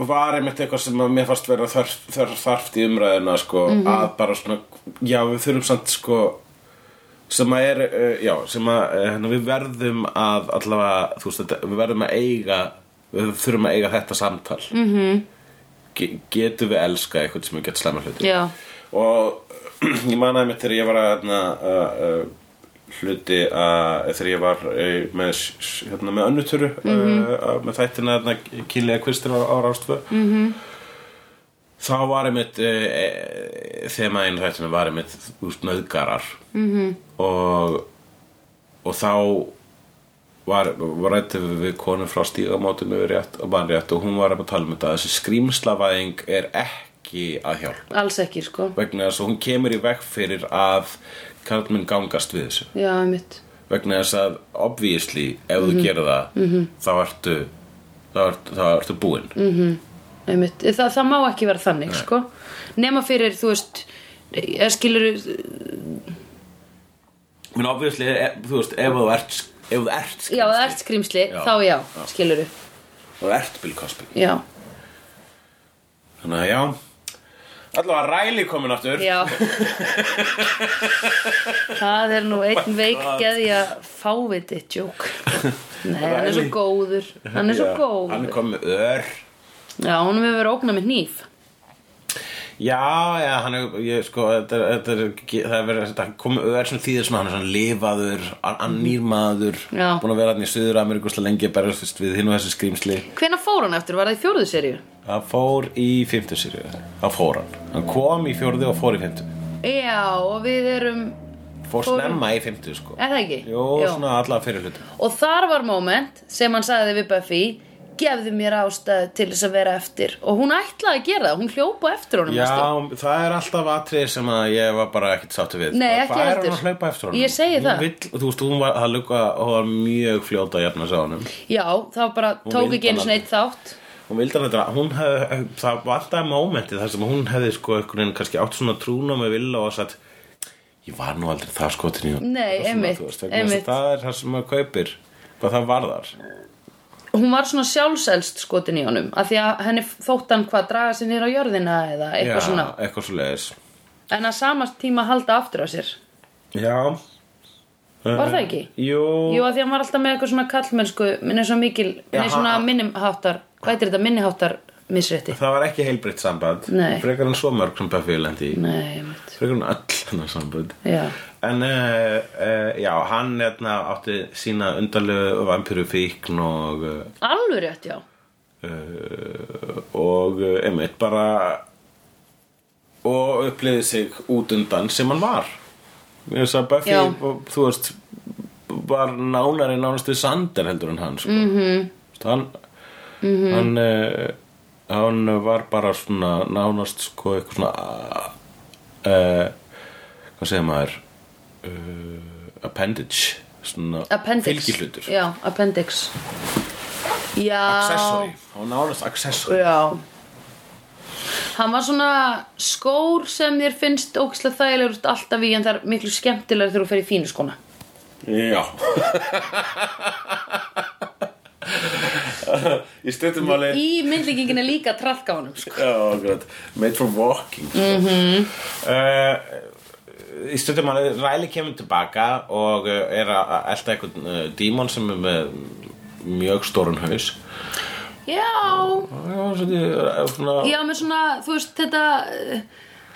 Speaker 2: var einmitt eitthvað sem að mér fannst vera þörf, þörf, þarft í umræðina sko, að bara svona, já við þurfum samt sko sem að er, uh, já, sem að uh, hérna, við verðum að allavega, þú veist, þetta, við verðum að eiga við þurfum að eiga þetta samtal mm -hmm. getum við elska eitthvað sem við getum slæma hluti
Speaker 1: já,
Speaker 2: og ég manaði mig þegar ég var að hérna, uh, uh, hluti að þegar ég var uh, með, s- s- hérna, með önnuturu mm uh, með þættina hérna, kýlega kvistir á, á rástfu mm -hmm. þá var einmitt uh, e, þema einu þættina var einmitt úst nöðgarar mm -hmm. og og þá var, var rætti við, við konu frá stígamótum yfir rétt og mann rétt og hún var að tala um þetta að þessi skrýmslavæðing er ekki að hjálpa
Speaker 1: alls ekki sko
Speaker 2: vegna þess að hún kemur í veg fyrir að karlmenn gangast við þessu
Speaker 1: já, mitt
Speaker 2: vegna þess að obviously ef þú gerir það þá ertu þá ertu, þá ertu búinn mm.
Speaker 1: Einmitt. Þa, það má ekki vera þannig sko. nema fyrir, þú veist eh, eða skilur
Speaker 2: menn obviously, e, þú veist, ef þú ert ef þú ert,
Speaker 1: já, það ert skrýmsli,
Speaker 2: Já.
Speaker 1: þá já, skilur
Speaker 2: ef þú ert Bill Cosby
Speaker 1: já,
Speaker 2: þannig að já allavega Riley komin aftur
Speaker 1: já það er nú
Speaker 2: Oh
Speaker 1: einn veik geðja fáviti djók nei, hann er svo
Speaker 2: Riley.
Speaker 1: góður hann er svo
Speaker 2: Já, hann
Speaker 1: góður
Speaker 2: er komin með ör
Speaker 1: já, hún hefur verið ógnað með hníf
Speaker 2: Já, já, hann er, ég, sko, þetta er, þetta er, það er verið, þetta komið öður sem þýðir svona, hann er svona lifaður, an- annýr maður,
Speaker 1: Já.
Speaker 2: búin að vera hann í Suður Ameríkusla lengi að berjast við hinn og þessu skrýmsli.
Speaker 1: hvenær fór hann eftir, var það í fjóruðu seríu?
Speaker 2: Það fór í fymtu sýrju, það fór hann. Hann kom í fjórðu og fór í fymtu.
Speaker 1: já, og við erum
Speaker 2: Fór
Speaker 1: Fór-
Speaker 2: snemma í fymtu, sko.
Speaker 1: er það ekki?
Speaker 2: Jó, svona alla fyrir hlutum.
Speaker 1: Og þar var moment sem hann sagði við Buffy gefðu mér ástæðu til þess að vera eftir og hún ætlaði að gera það, hún hljópa eftir honum næstu.
Speaker 2: Já, það er alltaf atrið sem að ég var bara ekkert sáttu við
Speaker 1: Nei,
Speaker 2: Bara,
Speaker 1: ekki
Speaker 2: Hvað er
Speaker 1: heldur.
Speaker 2: hann að hlaupa eftir honum?
Speaker 1: Ég segi
Speaker 2: Hún
Speaker 1: það.
Speaker 2: vill, Þú veist, hún var, það lukka, hún var mjög fljóta að jafna sig á honum
Speaker 1: Já, það var bara, tók
Speaker 2: vildi
Speaker 1: ekki einu
Speaker 2: hann
Speaker 1: svona eitt þátt
Speaker 2: hún vildi hann þetta hún hef, það vantaði mómenti þar sem hún hefði sko einhvern veginn kannski átt svona trúna með vilja og sagt ég var nú aldrei það skotin í hún
Speaker 1: Nei,
Speaker 2: Og svona,
Speaker 1: einmitt,
Speaker 2: þú veist, vegna þess að
Speaker 1: einmitt.
Speaker 2: það er það sem maður kaupir hvað það varðar
Speaker 1: Hún var svona sjálfselst skotin í honum af því að henni þótt hann hvað draga sér nýr á jörðina eða eitthvað svona
Speaker 2: eitthvað svo leiðis
Speaker 1: en að samast tíma halda aftur á sér
Speaker 2: já
Speaker 1: Var það ekki?
Speaker 2: jú,
Speaker 1: Jú, af því að hann var alltaf með eitthvað svona kallmennsku minni svo mikil,
Speaker 2: Já,
Speaker 1: minni svona
Speaker 2: hann-
Speaker 1: minniháttar hvað er þetta minniháttar misrétti?
Speaker 2: það var ekki heilbritt samband
Speaker 1: Nei.
Speaker 2: frekar en svo mörg sem Buffy lendi í
Speaker 1: Nei, ég veit
Speaker 2: frekar en öll hennar samband
Speaker 1: Já,
Speaker 2: En uh, uh, já, hann hérna, átti sína undarlegu vampiru fíkn og uh,
Speaker 1: alveg rétt, já
Speaker 2: uh, og uh, einmitt bara og upplýði sig út undan sem hann var Mér þess að Buffy,
Speaker 1: Já.
Speaker 2: og, þú veist var nánari nánast við Sander heldur en hann sko. mm
Speaker 1: Mhm.
Speaker 2: -hmm. hann, hann, uh, hann var bara svona nánast sko eitthvað svona uh, hvað segir maður uh, appendage svona
Speaker 1: Appendix
Speaker 2: fylgihlutur
Speaker 1: Já, appendix Já
Speaker 2: accessory, hann var nánast accessory
Speaker 1: Já Hann var svona skór sem þér finnst ógislega þægilegur út alltaf í en það er miklu skemmtilegur þegar þú fer í fínu sko. skóna
Speaker 2: Já Í stuttum máli
Speaker 1: Í myndlíkingin er líka trallka honum sko.
Speaker 2: Já, gott Made for walking mm -hmm. Í stuttum máli Riley kemur tilbaka og uh, er að elta einhvern uh, dímon sem er með mjög stórun haus
Speaker 1: Já
Speaker 2: Já, svolítið, uh, svona,
Speaker 1: Já, með svona, þú veist, þetta eh,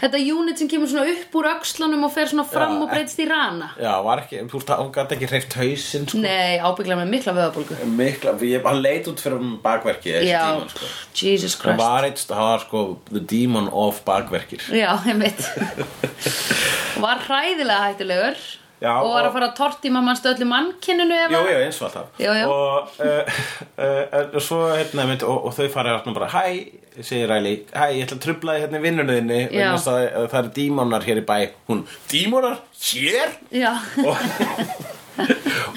Speaker 1: Þetta unit sem kemur svona upp úr öxlunum og fer svona fram
Speaker 2: Já.
Speaker 1: og breytst í rana
Speaker 2: Já, var ekki, þú veist, hún gæti ekki hreift hausinn sko.
Speaker 1: Nei, ábygglega með mikla vöðabólgu
Speaker 2: Mikla, ég bara leit út fyrir um bakverki þessi
Speaker 1: Já,
Speaker 2: dímon sko.
Speaker 1: Jesus
Speaker 2: Það
Speaker 1: Christ
Speaker 2: var eitt, það var sko The Demon of Bakverkir
Speaker 1: Já, einmitt Var hræðilega hættulegur
Speaker 2: Já,
Speaker 1: og var
Speaker 2: og-
Speaker 1: að fara að tortíma mannstu öllu mannkinninu ef
Speaker 2: Jú,
Speaker 1: að-
Speaker 2: jú, eins og alltaf
Speaker 1: Jú, jú.
Speaker 2: Og, uh, uh, uh, svo, hérna, mynd, og, og þau fara hérna bara Hæ, segir Riley Hæ, ég ætla að trubla þig hérna í vinnunni þinni
Speaker 1: Já.
Speaker 2: vegna þess að, að það eru dímonar hér í bæ Hún, dímonar? Hér?
Speaker 1: Já,
Speaker 2: Og,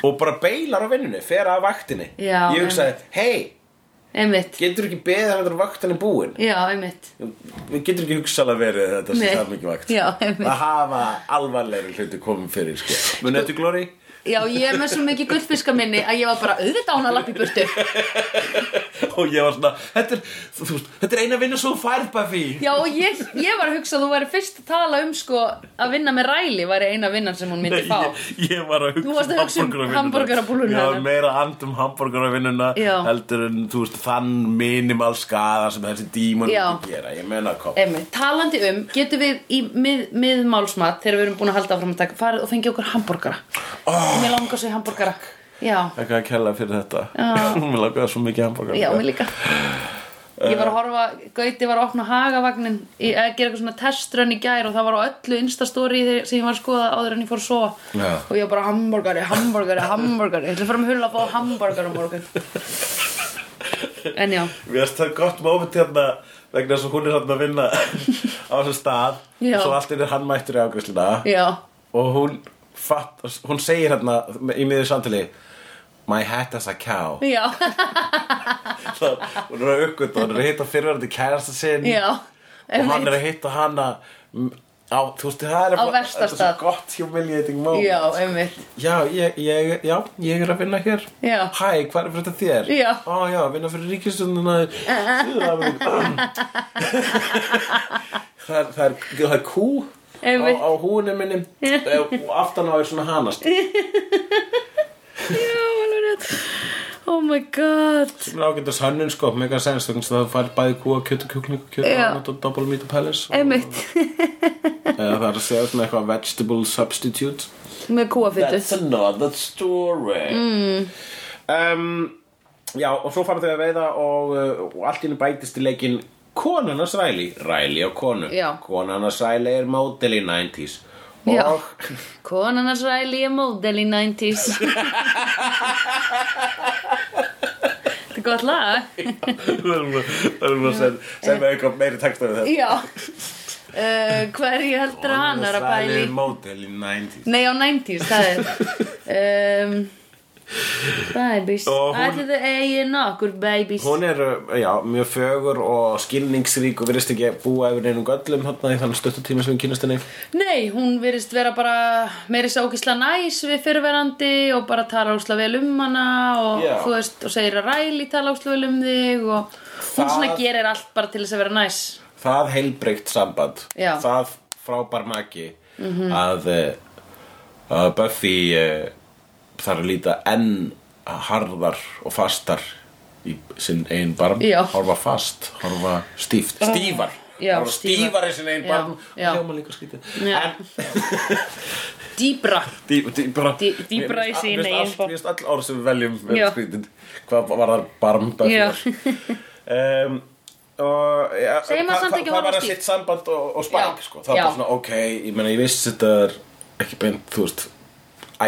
Speaker 2: og bara beilar á vinnunni Fer af vaktinni
Speaker 1: Já,
Speaker 2: Ég hugsaði, hei,
Speaker 1: einmitt
Speaker 2: getur ekki beðið að þetta er vaktinni búin
Speaker 1: Já, einmitt
Speaker 2: Við getur ekki hugsalega verið þetta sem
Speaker 1: Nei.
Speaker 2: það mikið vakt
Speaker 1: Já, einmitt.
Speaker 2: Að hafa alvarlegri hluti komið fyrir sko. Munið þetta glóri?
Speaker 1: Já, ég er með svo mikið gullfiska minni að ég var bara auðvitað á hún að lappa í burtu.
Speaker 2: og ég var svona þetta er, þú, þú, veist, þetta er eina vinna svo færð Buffy
Speaker 1: Já, og ég, ég var að hugsa að þú væri fyrst að tala um sko að vinna með ræli væri eina vinnan sem hún myndi
Speaker 2: Nei,
Speaker 1: fá.
Speaker 2: ég, ég var að
Speaker 1: Þú varst
Speaker 2: hugsa
Speaker 1: að hugsa um hamborgarabolluna
Speaker 2: Já,
Speaker 1: hennar.
Speaker 2: meira andum hamburgaravinnuna
Speaker 1: Já.
Speaker 2: heldur en þú veist þann minimal skada sem þessi dímon
Speaker 1: Já.
Speaker 2: myndi gera ég meina kom
Speaker 1: Emi, talandi um, getum við í mið, miðmálsmat þegar við erum búin að halda áfram að taka farið og fengið okkur hamborgara.
Speaker 2: oh,
Speaker 1: Mér langar svo í hamborgara. Já,
Speaker 2: Takk að kella fyrir þetta
Speaker 1: Já.
Speaker 2: Mér langaði svo mikið hamburgara
Speaker 1: já, mér líka. Ég var að horfa, Gauti var að opna hagavagnin í, að gera eitthvað svona testrun í gær og það var á öllu instastóri sem ég var að skoða áður en ég fór að sofa
Speaker 2: Já.
Speaker 1: og ég var bara hamborgari, hamborgari, hamborgari ég ætla að fara með hulla að fá hamborgara á morgun En já,
Speaker 2: Mér finnst það gott moment hérna vegna þess að hún er hann að vinna á þessum stað
Speaker 1: Já.
Speaker 2: svo allt inni er hann mættur í ágriðsluna
Speaker 1: já
Speaker 2: og hún, fatt, hún segir hérna í miður samtali My hat is a cow
Speaker 1: Já,
Speaker 2: Það- Hún er að uppgöta, hún er að hitta fyrirverandi kærasta sinn
Speaker 1: já
Speaker 2: og hann
Speaker 1: einmitt.
Speaker 2: er að hitta hana mm, á, þú veist, það
Speaker 1: Á
Speaker 2: er bara-
Speaker 1: versta
Speaker 2: þetta er svo
Speaker 1: stað.
Speaker 2: gott humiliating moment
Speaker 1: Já, einmitt
Speaker 2: Já, ég, ég, já, ég er að vinna hér
Speaker 1: Já.
Speaker 2: Hæ, hvað er fyrir þetta þér?
Speaker 1: Já.
Speaker 2: Ó, já, vinna fyrir ríkistundina Það er, það er, það er kú á,
Speaker 1: Einmitt.
Speaker 2: á húinu minni og aftan á er svona hanast sem
Speaker 1: Já, alveg rétt Oh my god
Speaker 2: er ágændast hönnun sko, mega sens þannig að það fær bæði kú að kjöt og kjúkling og kjöt
Speaker 1: Já.
Speaker 2: og double meat og palace og,
Speaker 1: Einmitt
Speaker 2: eða það er að segja svona eitthvað vegetable substitute
Speaker 1: Með kúafytu
Speaker 2: That's another story mm. um, Já, og svo fara þau að veiða og, uh, og allt inni bætist í leikinn konarnas Ræli, Ræli á konu
Speaker 1: Já.
Speaker 2: konarnas Ræli er mótil í 90s og
Speaker 1: Já. Konan hans ræli er módel í 90s Þetta er gott lag
Speaker 2: það er svona sem, sem er eitthvað meiri takst af þetta
Speaker 1: Já uh, Hverju heldur að hann er að
Speaker 2: Ræli
Speaker 1: bæli?
Speaker 2: er mótil í 90s
Speaker 1: Nei, á 90s, það er um, Babies
Speaker 2: Og hún-
Speaker 1: Ætli þau eigi nokkur babies
Speaker 2: Hún er, uh, já, mjög fögur og skilningsrík og virðist ekki búa yfir einum göllum þarna í þannig stuttutíma sem við kynast henni
Speaker 1: Nei, hún virðist vera bara meiri sá ógisla næs við fyrirverandi og bara tala ósla vel um hana og
Speaker 2: Já.
Speaker 1: þú veist, og segir að ræli tala ósla vel um þig og hún
Speaker 2: Það-
Speaker 1: svona gerir allt bara til þess að vera næs
Speaker 2: það heilbreykt samband
Speaker 1: Já. Mhm.
Speaker 2: það frábær maki að, eh, að Buffy eh, þarf að líta enn harðar og fastar í sinn einn barm
Speaker 1: Já.
Speaker 2: horfa fast, horfa stíft stífar,
Speaker 1: Já,
Speaker 2: horfa
Speaker 1: stífar.
Speaker 2: stífar í sinn einn
Speaker 1: Já,
Speaker 2: barm
Speaker 1: já.
Speaker 2: hljóma líka skrítið
Speaker 1: Já.
Speaker 2: en
Speaker 1: Dýbra
Speaker 2: dí, dí, bara,
Speaker 1: Dí- dýpra í sín eigin
Speaker 2: eigin
Speaker 1: barm.
Speaker 2: Mér finnst all orð sem við veljum
Speaker 1: Já.
Speaker 2: vera skrýtin Hvað var þar barm
Speaker 1: Já.
Speaker 2: um, og, ja,
Speaker 1: Segjum að
Speaker 2: það-
Speaker 1: samt ekki
Speaker 2: það- Það
Speaker 1: horfa
Speaker 2: var að
Speaker 1: stíft.
Speaker 2: sitt samband og, og
Speaker 1: Já.
Speaker 2: spæk sko. Það var
Speaker 1: Já.
Speaker 2: bara svona ok Ég meina ég vissi þetta er ekki beint Þú veist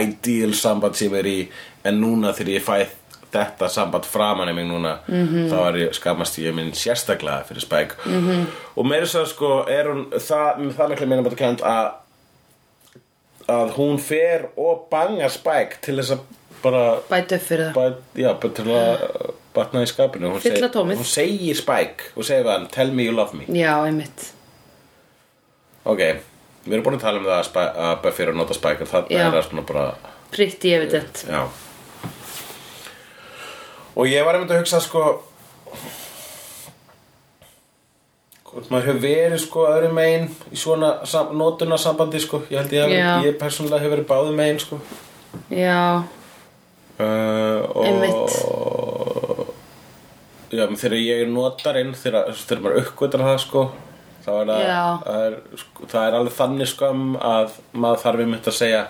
Speaker 2: Ideal samband sem ég er í En núna þegar ég fæ þetta samband framan í mig núna -hmm.
Speaker 1: Mhm.
Speaker 2: þá er ég, skamast ég minn sérstaklega fyrir spæk -hmm. og meira svo sko er hún það, það mikla meina bara kent að að hún fer og bangar Spike til þess að bara
Speaker 1: Bæti upp fyrir það
Speaker 2: bæ, já, bara til að uh, batna í skapinu hún,
Speaker 1: Fylla tómið.
Speaker 2: hún segir Spike og segir við hann tell me you love me
Speaker 1: Já, einmitt
Speaker 2: ok, við erum búin að tala um það að, Spike, að Buffy er að nota Spike en þarna
Speaker 1: Já.
Speaker 2: er það svona bara
Speaker 1: Pretty evident
Speaker 2: já og ég var einmitt að hugsa sko hvort maður hefur verið sko öðrum megin í svona sam, notunarsambandi sko ég held ég,
Speaker 1: Já.
Speaker 2: hef, ég persónulega hefur verið báðum megin sko
Speaker 1: Já,
Speaker 2: Uh,
Speaker 1: Einmitt.
Speaker 2: og já, menn þegar ég notar inn þegar, þegar maður uppgötar það sko þá er það,
Speaker 1: Já.
Speaker 2: það, er, sko, það er alveg þannig skam að maður þarf einmitt að segja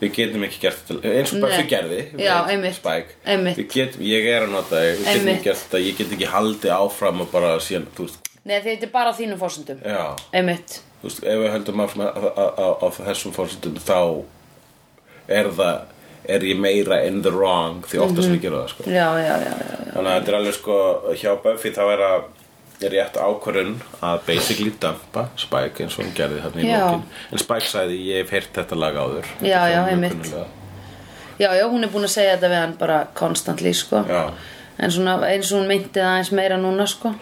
Speaker 2: við getum ekki gert þetta eins og bara
Speaker 1: Nei.
Speaker 2: þau gerði
Speaker 1: Já,
Speaker 2: við
Speaker 1: einmitt.
Speaker 2: Spike.
Speaker 1: Einmitt.
Speaker 2: Við getum, ég er að nota það, við getum
Speaker 1: Einmitt.
Speaker 2: ekki gert þetta ég get ekki haldið áfram og bara síðan, þú veist,
Speaker 1: nei þetta er bara á þínum fórsendum
Speaker 2: já
Speaker 1: Einmitt
Speaker 2: þú veist, ef við höldum áfram á- á- á á þessum fórsendum þá er það er ég meira in the wrong því oftast
Speaker 1: Mhm.
Speaker 2: við gerum það sko
Speaker 1: Já, já, já, já,
Speaker 2: þannig að þetta er alveg sko hjá Buffy þá er að er rétt ákvörun að basically dampa Spike eins og hún gerði þarna í
Speaker 1: Já.
Speaker 2: lókin en Spike sagði ég hef heyrt þetta lag áður Þetta
Speaker 1: Já,
Speaker 2: er
Speaker 1: já,
Speaker 2: mjög
Speaker 1: einmitt.
Speaker 2: kunnulega.
Speaker 1: já Já, já, hún er búin að segja þetta við hann bara konstantli, sko
Speaker 2: Já.
Speaker 1: En svona, eins og hún myndi það eins meira núna, sko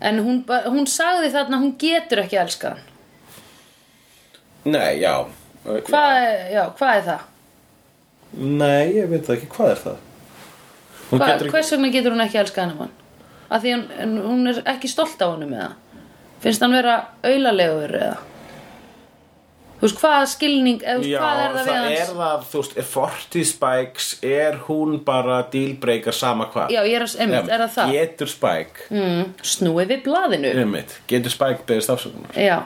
Speaker 1: En hún, ba- hún sagði þarna að hún getur ekki elskað hann
Speaker 2: nei, já
Speaker 1: Hvað, er- já, hvað er það?
Speaker 2: Nei, ég veit það ekki, hvað er það? Hún
Speaker 1: Hva,
Speaker 2: getur ekki
Speaker 1: hvers vegna getur hún ekki elskað hann hann? Að því hún, en hún er ekki stolt af honum eða? Finnst hann vera aulalegur eða? Þú veist, hvað skilning, eða þú veist,
Speaker 2: Já,
Speaker 1: hvað er það, við
Speaker 2: það
Speaker 1: hans?
Speaker 2: er það, þú veist, er 40 spikes, er hún bara dealbreaker sama hvað?
Speaker 1: Já, ég er að, einmitt, er það það?
Speaker 2: Getur spike,
Speaker 1: Mm, snúið við blaðinu.
Speaker 2: einmitt, getur spike beðist afsökunar?
Speaker 1: Já,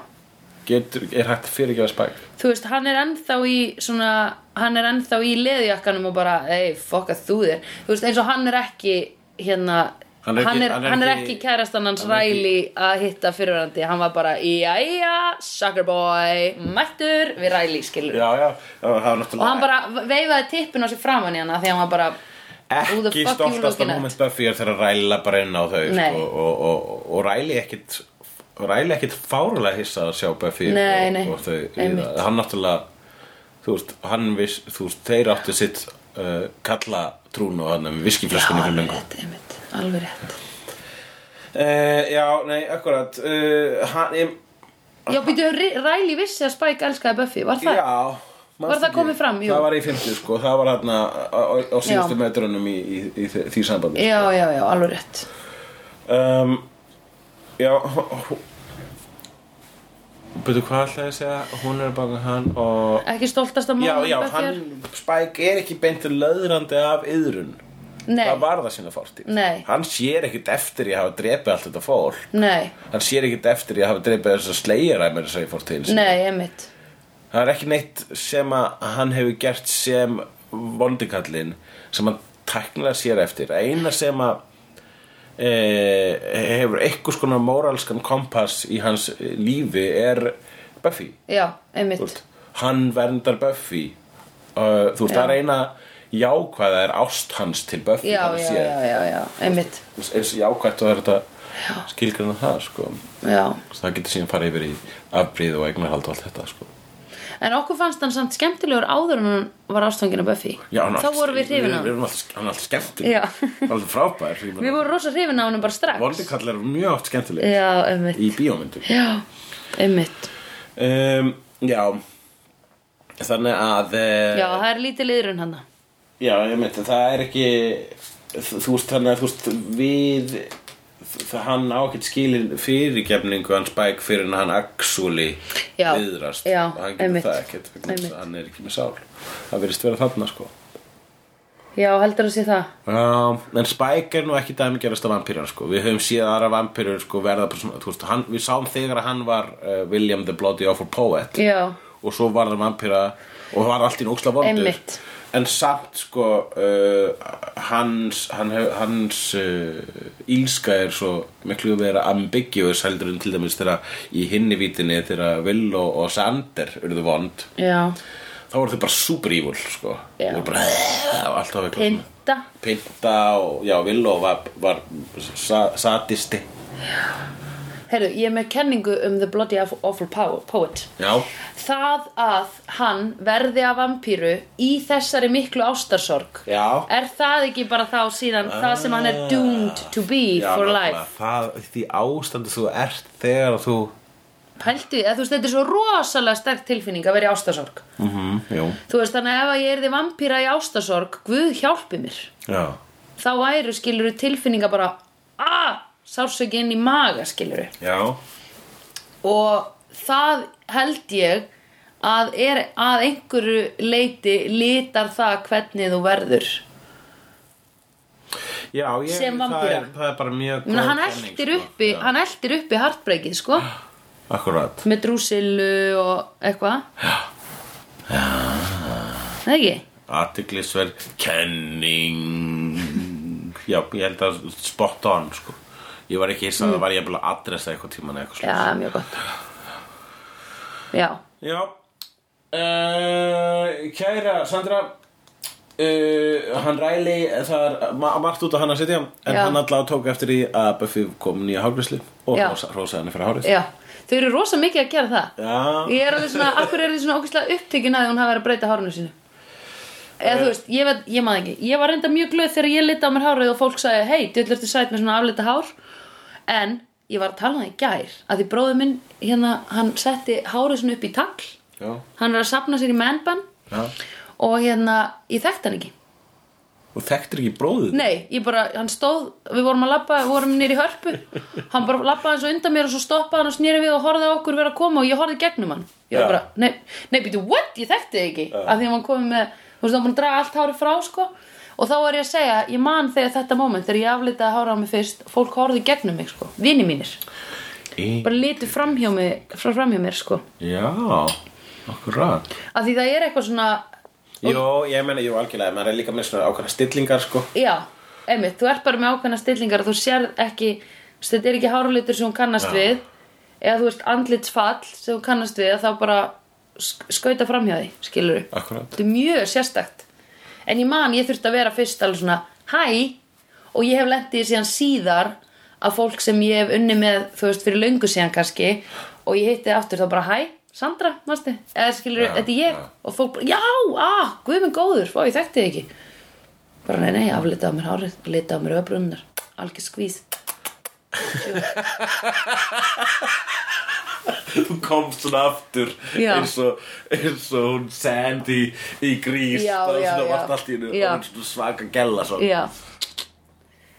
Speaker 2: Getur, er hægt að fyrirgefa spike?
Speaker 1: þú veist, hann er ennþá í svona, hann er ennþá í leðjakkanum og bara, ei, fokka þú þér. Þú veist, eins og hann er ekki, hérna,
Speaker 2: Hann er ekki-
Speaker 1: hann er,
Speaker 2: hann er
Speaker 1: hann er
Speaker 2: ekki-
Speaker 1: ekki kærastan hans
Speaker 2: hann er ekki-
Speaker 1: Riley að hitta fyrirverandi. Hann var bara, jæja, sucker boy, mættur við Riley, skilur.
Speaker 2: Já, já, það er
Speaker 1: og
Speaker 2: náttúrulega
Speaker 1: hann bara veifaði tippin á sig framan í hana því að hann var bara Who the
Speaker 2: ekki
Speaker 1: fuck you
Speaker 2: stoltast
Speaker 1: looking
Speaker 2: að
Speaker 1: at?
Speaker 2: moment Buffy er þegar Ræla bara inn á þau
Speaker 1: Nei.
Speaker 2: sko, og, og, og, og Ræli ekkit Ræli ekkit fárulega hissa að sjá Buffy
Speaker 1: Nei,
Speaker 2: og,
Speaker 1: nei,
Speaker 2: og þau
Speaker 1: einmitt.
Speaker 2: líða. hann náttúrulega þú veist, hann viss, þú veist, þeir áttu sitt uh, kalla trún og hann með viskiflöskunni
Speaker 1: alveg
Speaker 2: fyrir lengur
Speaker 1: rétt, einmitt, alveg rétt
Speaker 2: uh, Já, nei, akkurat uh, hann, ég,
Speaker 1: já, býtu, Riley vissi að Spike elskaði Buffy, var það?
Speaker 2: Já manstu
Speaker 1: Var það
Speaker 2: ekki?
Speaker 1: komið fram? Jú.
Speaker 2: Það var í 50 sko, það var hann á, á síðustu
Speaker 1: Já.
Speaker 2: metrunum í, í, í, í því sambandi
Speaker 1: já, já, já, alveg rétt
Speaker 2: um, Já Betur hvað ætlaði ég að segja Hún er bara hann og
Speaker 1: ekki stoltast að
Speaker 2: Já,
Speaker 1: móðan
Speaker 2: já,
Speaker 1: Buffy
Speaker 2: hann Spike er ekki beintur löðrandi af yðrun
Speaker 1: er nei,
Speaker 2: Það var það sína fórtíð
Speaker 1: Nei.
Speaker 2: Hann sér ekkit eftir ég hafa drepið allt þetta fólk
Speaker 1: nei,
Speaker 2: Hann sér ekkit eftir ég hafa drepið þess að slegjara með þess að ég fór til
Speaker 1: nei, einmitt
Speaker 2: Það er ekki neitt sem að hann hefur gert sem vondikallin sem hann tæknilega sér eftir. Það eina sem að e, hefur einhvers konar móralskan kompass í hans lífi er Buffy.
Speaker 1: já,
Speaker 2: Þú
Speaker 1: einmitt
Speaker 2: veist, Hann verndar Buffy. Uh, Þú veist, það er eina jákvæða er ást hans til Buffy.
Speaker 1: já,
Speaker 2: hann
Speaker 1: já,
Speaker 2: sér.
Speaker 1: já, já, já, einmitt
Speaker 2: Eins jákvætt og er þetta skilgrana það, sko.
Speaker 1: já,
Speaker 2: Það getur síðan farið yfir í afbríð og eignarhald og allt þetta, sko.
Speaker 1: en okkur fannst hann samt skemmtilegur áður en hann var ástfangin af Buffy
Speaker 2: Já, hann
Speaker 1: þá
Speaker 2: er alltaf-
Speaker 1: vorum við hrifin á
Speaker 2: Við
Speaker 1: hann
Speaker 2: erum alltaf, hann er alltaf skemmtileg
Speaker 1: Já.
Speaker 2: Hann er alltaf frábær
Speaker 1: við vorum rosa hrifin á hann bara strax
Speaker 2: Vondikall er mjög oft skemmtileg
Speaker 1: já, einmitt
Speaker 2: Í bíómyndum
Speaker 1: já, einmitt
Speaker 2: um, Já Þannig að eh,
Speaker 1: já, það er lítið liðurinn hann
Speaker 2: já ég myndi Það er ekki Þú þú veist þannig að þú veist Við Það hann á ekkert skilin fyrirgefningu hans bæk fyrir en hann axúli
Speaker 1: Já,
Speaker 2: viðrast
Speaker 1: já,
Speaker 2: og hann getur
Speaker 1: einmitt,
Speaker 2: það ekkert vegna þess að
Speaker 1: einmitt.
Speaker 2: hann er ekki með sál það verðist vera þarna sko
Speaker 1: já, heldur að sé það
Speaker 2: Já, Um, en Spike er nú ekki dæmigerast af vampýrar sko. Við höfum síðan aðra vampýrar sko, verða bara svona, þú veist, hann, við sáum þegar að hann var uh, William the Bloody Awful Poet
Speaker 1: Já,
Speaker 2: og svo var hann vampýra og var allt í núksla vondur
Speaker 1: Einmitt.
Speaker 2: en samt sko uh, hans, hann, hef- hans uh, ílska er svo miklu vera ambiguous heldur en til dæmis þegar í hinni vítinni þegar Willow og Sander urðu vond
Speaker 1: já,
Speaker 2: þá voru þau bara super evil sko.
Speaker 1: Já.
Speaker 2: og bara alltaf eitthvað svona
Speaker 1: pinda
Speaker 2: Pinta og, já, Villó var, var sa, satisti
Speaker 1: Heyrðu, ég er með kenningu um The Bloody Awful Awful Po- Poet
Speaker 2: Já,
Speaker 1: Það að hann verði að vampíru í þessari miklu ástarsorg
Speaker 2: Já.
Speaker 1: Er það ekki bara þá síðan það sem hann er doomed to be
Speaker 2: Ah. já
Speaker 1: for
Speaker 2: nákvæmlega.
Speaker 1: life
Speaker 2: það, Því ástandu þú ert þegar þú
Speaker 1: Pæltu, eða þú veist, þetta er svo rosalega sterk tilfinning að vera í ástarsorg
Speaker 2: mm -hmm, Jú,
Speaker 1: Þú veist, þannig að ef að ég erði vampíra í ástarsorg Guð hjálpi mér
Speaker 2: já
Speaker 1: Þá væru skiluru tilfinninga bara Ah, sársöki inn í maga skiluru
Speaker 2: Já,
Speaker 1: og það held ég að er að einhverju leiti litar það hvernig þú verður
Speaker 2: já ég,
Speaker 1: Sem
Speaker 2: það,
Speaker 1: vampíra.
Speaker 2: er, það er bara mjög
Speaker 1: Menna,
Speaker 2: góð
Speaker 1: hann,
Speaker 2: kenning,
Speaker 1: eltir
Speaker 2: sko.
Speaker 1: uppi,
Speaker 2: Já.
Speaker 1: hann eltir uppi hartbreykið sko
Speaker 2: Akkurat
Speaker 1: með drúsilu og eitthvað já það ekki
Speaker 2: Athyglisverð kenning Já, ég held að spot on sko. Ég var ekki hissa að það var ég að adressa eitthvað tíman eitthvað
Speaker 1: Mm. já, mjög gott já,
Speaker 2: Já uh, Kæra Sandra uh, Hann ræli Það er ma- margt út á hann að setja En
Speaker 1: Já.
Speaker 2: hann allavega tók eftir því að Buffy kom nýja hárgrisli Og
Speaker 1: Já.
Speaker 2: rosa, rosa henni fyrir hárið
Speaker 1: já þau eru rosa mikið að gera það
Speaker 2: Já,
Speaker 1: ég er alveg svona, akkur er þið svona ógæslega upptekin að því hún hafi verið að breyta hárinu sínu
Speaker 2: Eh.
Speaker 1: eða þú veist, ég, veit, ég maður ekki ég var reynda mjög glöð þegar ég liti á mér hárið og fólk sagði, hei, djöll ertu sætt með svona aflita hár en ég var að tala um það í gær að því bróður minn, hérna, hann setti hárið svona upp í tagl
Speaker 2: já,
Speaker 1: hann er að sapna sér í mennbann
Speaker 2: já.
Speaker 1: og hérna, ég þekkti hann ekki
Speaker 2: og þekktir ekki bróðið
Speaker 1: Nei, ég bara, hann stóð, við vorum að labba, við vorum nýri í hörpu Hann bara labbaði eins og undan mér og svo stoppaði hann og snýri við og horfði á okkur vera að koma og ég horfði gegnum hann Ég
Speaker 2: Já.
Speaker 1: var bara, nei, nei, býtu, what? Ég þekkti þig ekki Af því að hann komið með, þú veist, hann búin að draga allt hárið frá, sko Og þá var ég að segja, ég man þegar þetta moment, þegar ég aflitaði hárið á mig fyrst Fólk horfði gegnum mig, sko, vini mínir
Speaker 2: Í,
Speaker 1: Bara litu framhjá mig, frá framhjá mér, sko
Speaker 2: já, akkurat
Speaker 1: Af því það er eitthvað svona,
Speaker 2: Jó, ég meina, jú, algjörlega, maður er líka með svona ákveðna stillingar, sko
Speaker 1: já, einmitt, þú ert bara með ákveðna stillingar og þú sérð ekki, þú veist, þetta er ekki hárlitur sem hún kannast við eða þú veist andlitsfall sem hún kannast við þá bara sk- skauta framhjá því, skilur við.
Speaker 2: Akkurat
Speaker 1: Þetta er mjög sérstakt. En ég man, ég þurfti að vera fyrst alveg svona, hæ, og ég hef lent í því síðan síðar að fólk sem ég hef unni með, þú veist, fyrir löngu síðan kannski og ég hitti aftur þá bara, hæ, Sandra, manstu, eða skilur,
Speaker 2: Já,
Speaker 1: þetta er ég
Speaker 2: já.
Speaker 1: og fólk bara, já, ah, guð minn góður, fá, ég þekkti þig ekki. Bara, nei, nei, aflitaði á mér hárið, litaði á mér öfbrunnar, algjör skvís.
Speaker 2: Þú komst svona aftur
Speaker 1: Já.
Speaker 2: eins og, eins og hún Sandy í grís
Speaker 1: Já,
Speaker 2: það var
Speaker 1: já,
Speaker 2: svona
Speaker 1: já.
Speaker 2: vart allt í hennu
Speaker 1: Já.
Speaker 2: og hún svona svaka gella svona
Speaker 1: Já,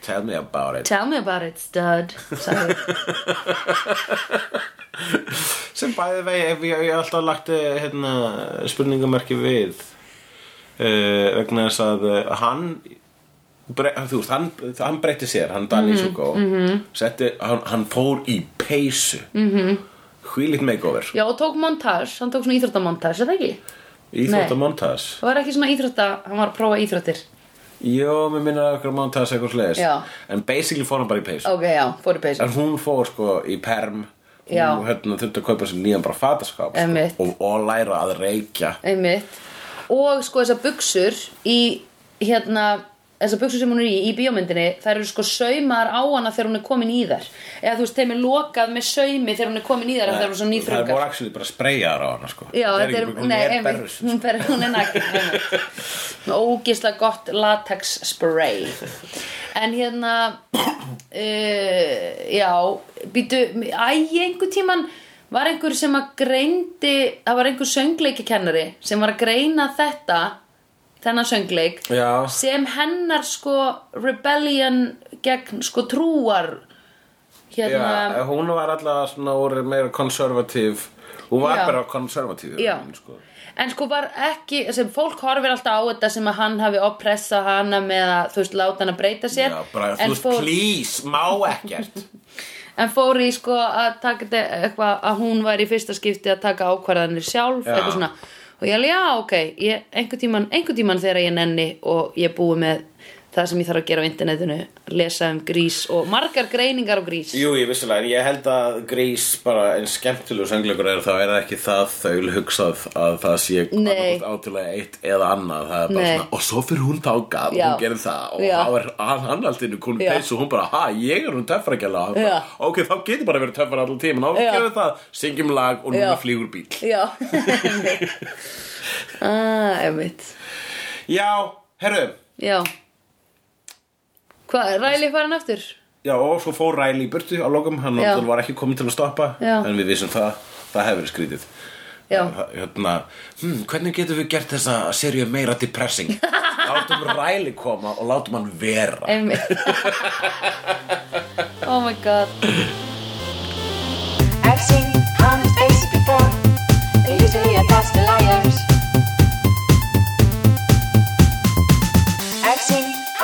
Speaker 2: Tell me about it
Speaker 1: tell me about it, stud, sagði ég.
Speaker 2: sem bæði vegi, ef ég hef alltaf lagt eh, hérna, spurningamerki við uh, vegna þess að uh, hann bre, þú veist, hann, hann breytti sér hann
Speaker 1: Mhm,
Speaker 2: Danny mm -hmm. setti, hann, hann fór í peysu mm -hmm.
Speaker 1: Mhm.
Speaker 2: hvílitt makeover
Speaker 1: Já, og tók montage, hann tók svona íþróttamontage, er það ekki?
Speaker 2: íþróttamontas
Speaker 1: Það var ekki svona íþrótta, hann var að prófa íþróttir
Speaker 2: Jó, mér minna okkur montas eitthvað slegis
Speaker 1: Já.
Speaker 2: en basically fór hann bara í peysu
Speaker 1: Ok, já, fór í peysu
Speaker 2: en hún fór sko í perm hún
Speaker 1: Já.
Speaker 2: hérna, þurfti að kaupa sér nýjan bara fataskap
Speaker 1: Einmitt.
Speaker 2: sko, og, og læra að reykja
Speaker 1: Einmitt Og sko þessar buksur í hérna þessar buksur sem hún er í, í bíómyndinni þær eru sko saumar á hana þegar hún er komin í þær eða þú veist, þeim er lokað með saumi þegar hún er komin í þær þegar hún er svona
Speaker 2: Það voru
Speaker 1: nýþrungar
Speaker 2: actually bara spreyjar á hana sko
Speaker 1: Já,
Speaker 2: Það
Speaker 1: þetta er,
Speaker 2: ekki bara- hún
Speaker 1: nei,
Speaker 2: er sko.
Speaker 1: einmitt,
Speaker 2: berrus
Speaker 1: hún, ber, hún er nakin einmitt. Með ógisla gott latex spray En hérna uh, Já, býtu Æ, einhver tíman var einhver sem að greindi það var einhver söngleikikennari sem var að greina þetta þennan söngleik
Speaker 2: Já.
Speaker 1: sem hennar sko rebellion gegn sko trúar
Speaker 2: Já,
Speaker 1: hérna,
Speaker 2: hún var alltaf svona úr meira konservatív Hún var
Speaker 1: Já.
Speaker 2: bara konservatív í
Speaker 1: Já.
Speaker 2: rauninni, sko.
Speaker 1: En sko var ekki, sem fólk horfir alltaf á þetta sem að hann hafi oppressað hana með að, þú veist, láta hann að breyta sér.
Speaker 2: Já, bara, þú
Speaker 1: en,
Speaker 2: veist,
Speaker 1: fór,
Speaker 2: please, má ekkert
Speaker 1: en fór í sko að taka þetta eitthvað, að hún var í fyrsta skipti að taka ákvarðanir sjálf,
Speaker 2: Já.
Speaker 1: eitthvað svona. Og ég alveg, já, ok, ég, einhver tíman, einhver tíman þegar ég nenni og ég búi með það sem ég þarf að gera á internetinu, lesa um grís og margar greiningar á grís.
Speaker 2: Jú, ég vissulega, en ég held að grís bara eins skemmtilegu söngleikur er þá er það ekki það þaul hugsað að það sé
Speaker 1: Nei.
Speaker 2: annaðhvort átulega eitt eða annað það er bara
Speaker 1: Nei.
Speaker 2: svona, og svo fyrir hún þákað og
Speaker 1: Já.
Speaker 2: hún gerir það og
Speaker 1: Já.
Speaker 2: þá er hann, hann allt innu konum
Speaker 1: Já.
Speaker 2: peysu og hún bara, ha, ég er hún töffaragjala
Speaker 1: Já.
Speaker 2: ok, þá getur bara verið töffar allan tíma og
Speaker 1: Já.
Speaker 2: hún gerir það, syngjum lag og
Speaker 1: Já.
Speaker 2: núna flýgur bíl
Speaker 1: Já, einmitt. Ah, einmitt.
Speaker 2: Já, herru,
Speaker 1: Já. Hvað, ræli farin aftur?
Speaker 2: já, og svo fór Ræli í burtu á lokum, hann
Speaker 1: Já.
Speaker 2: náttúrulega var ekki kominn til að stoppa
Speaker 1: Já.
Speaker 2: en við vissum það, það hefur verið skrítið
Speaker 1: Já,
Speaker 2: Það- hérna, hm, hvernig getum við gert þessa serju meira depressing látum Ræli koma og látum hann vera
Speaker 1: einmitt. oh my god.
Speaker 3: I've seen honest faces before. They're usually a pass to liars. I've seen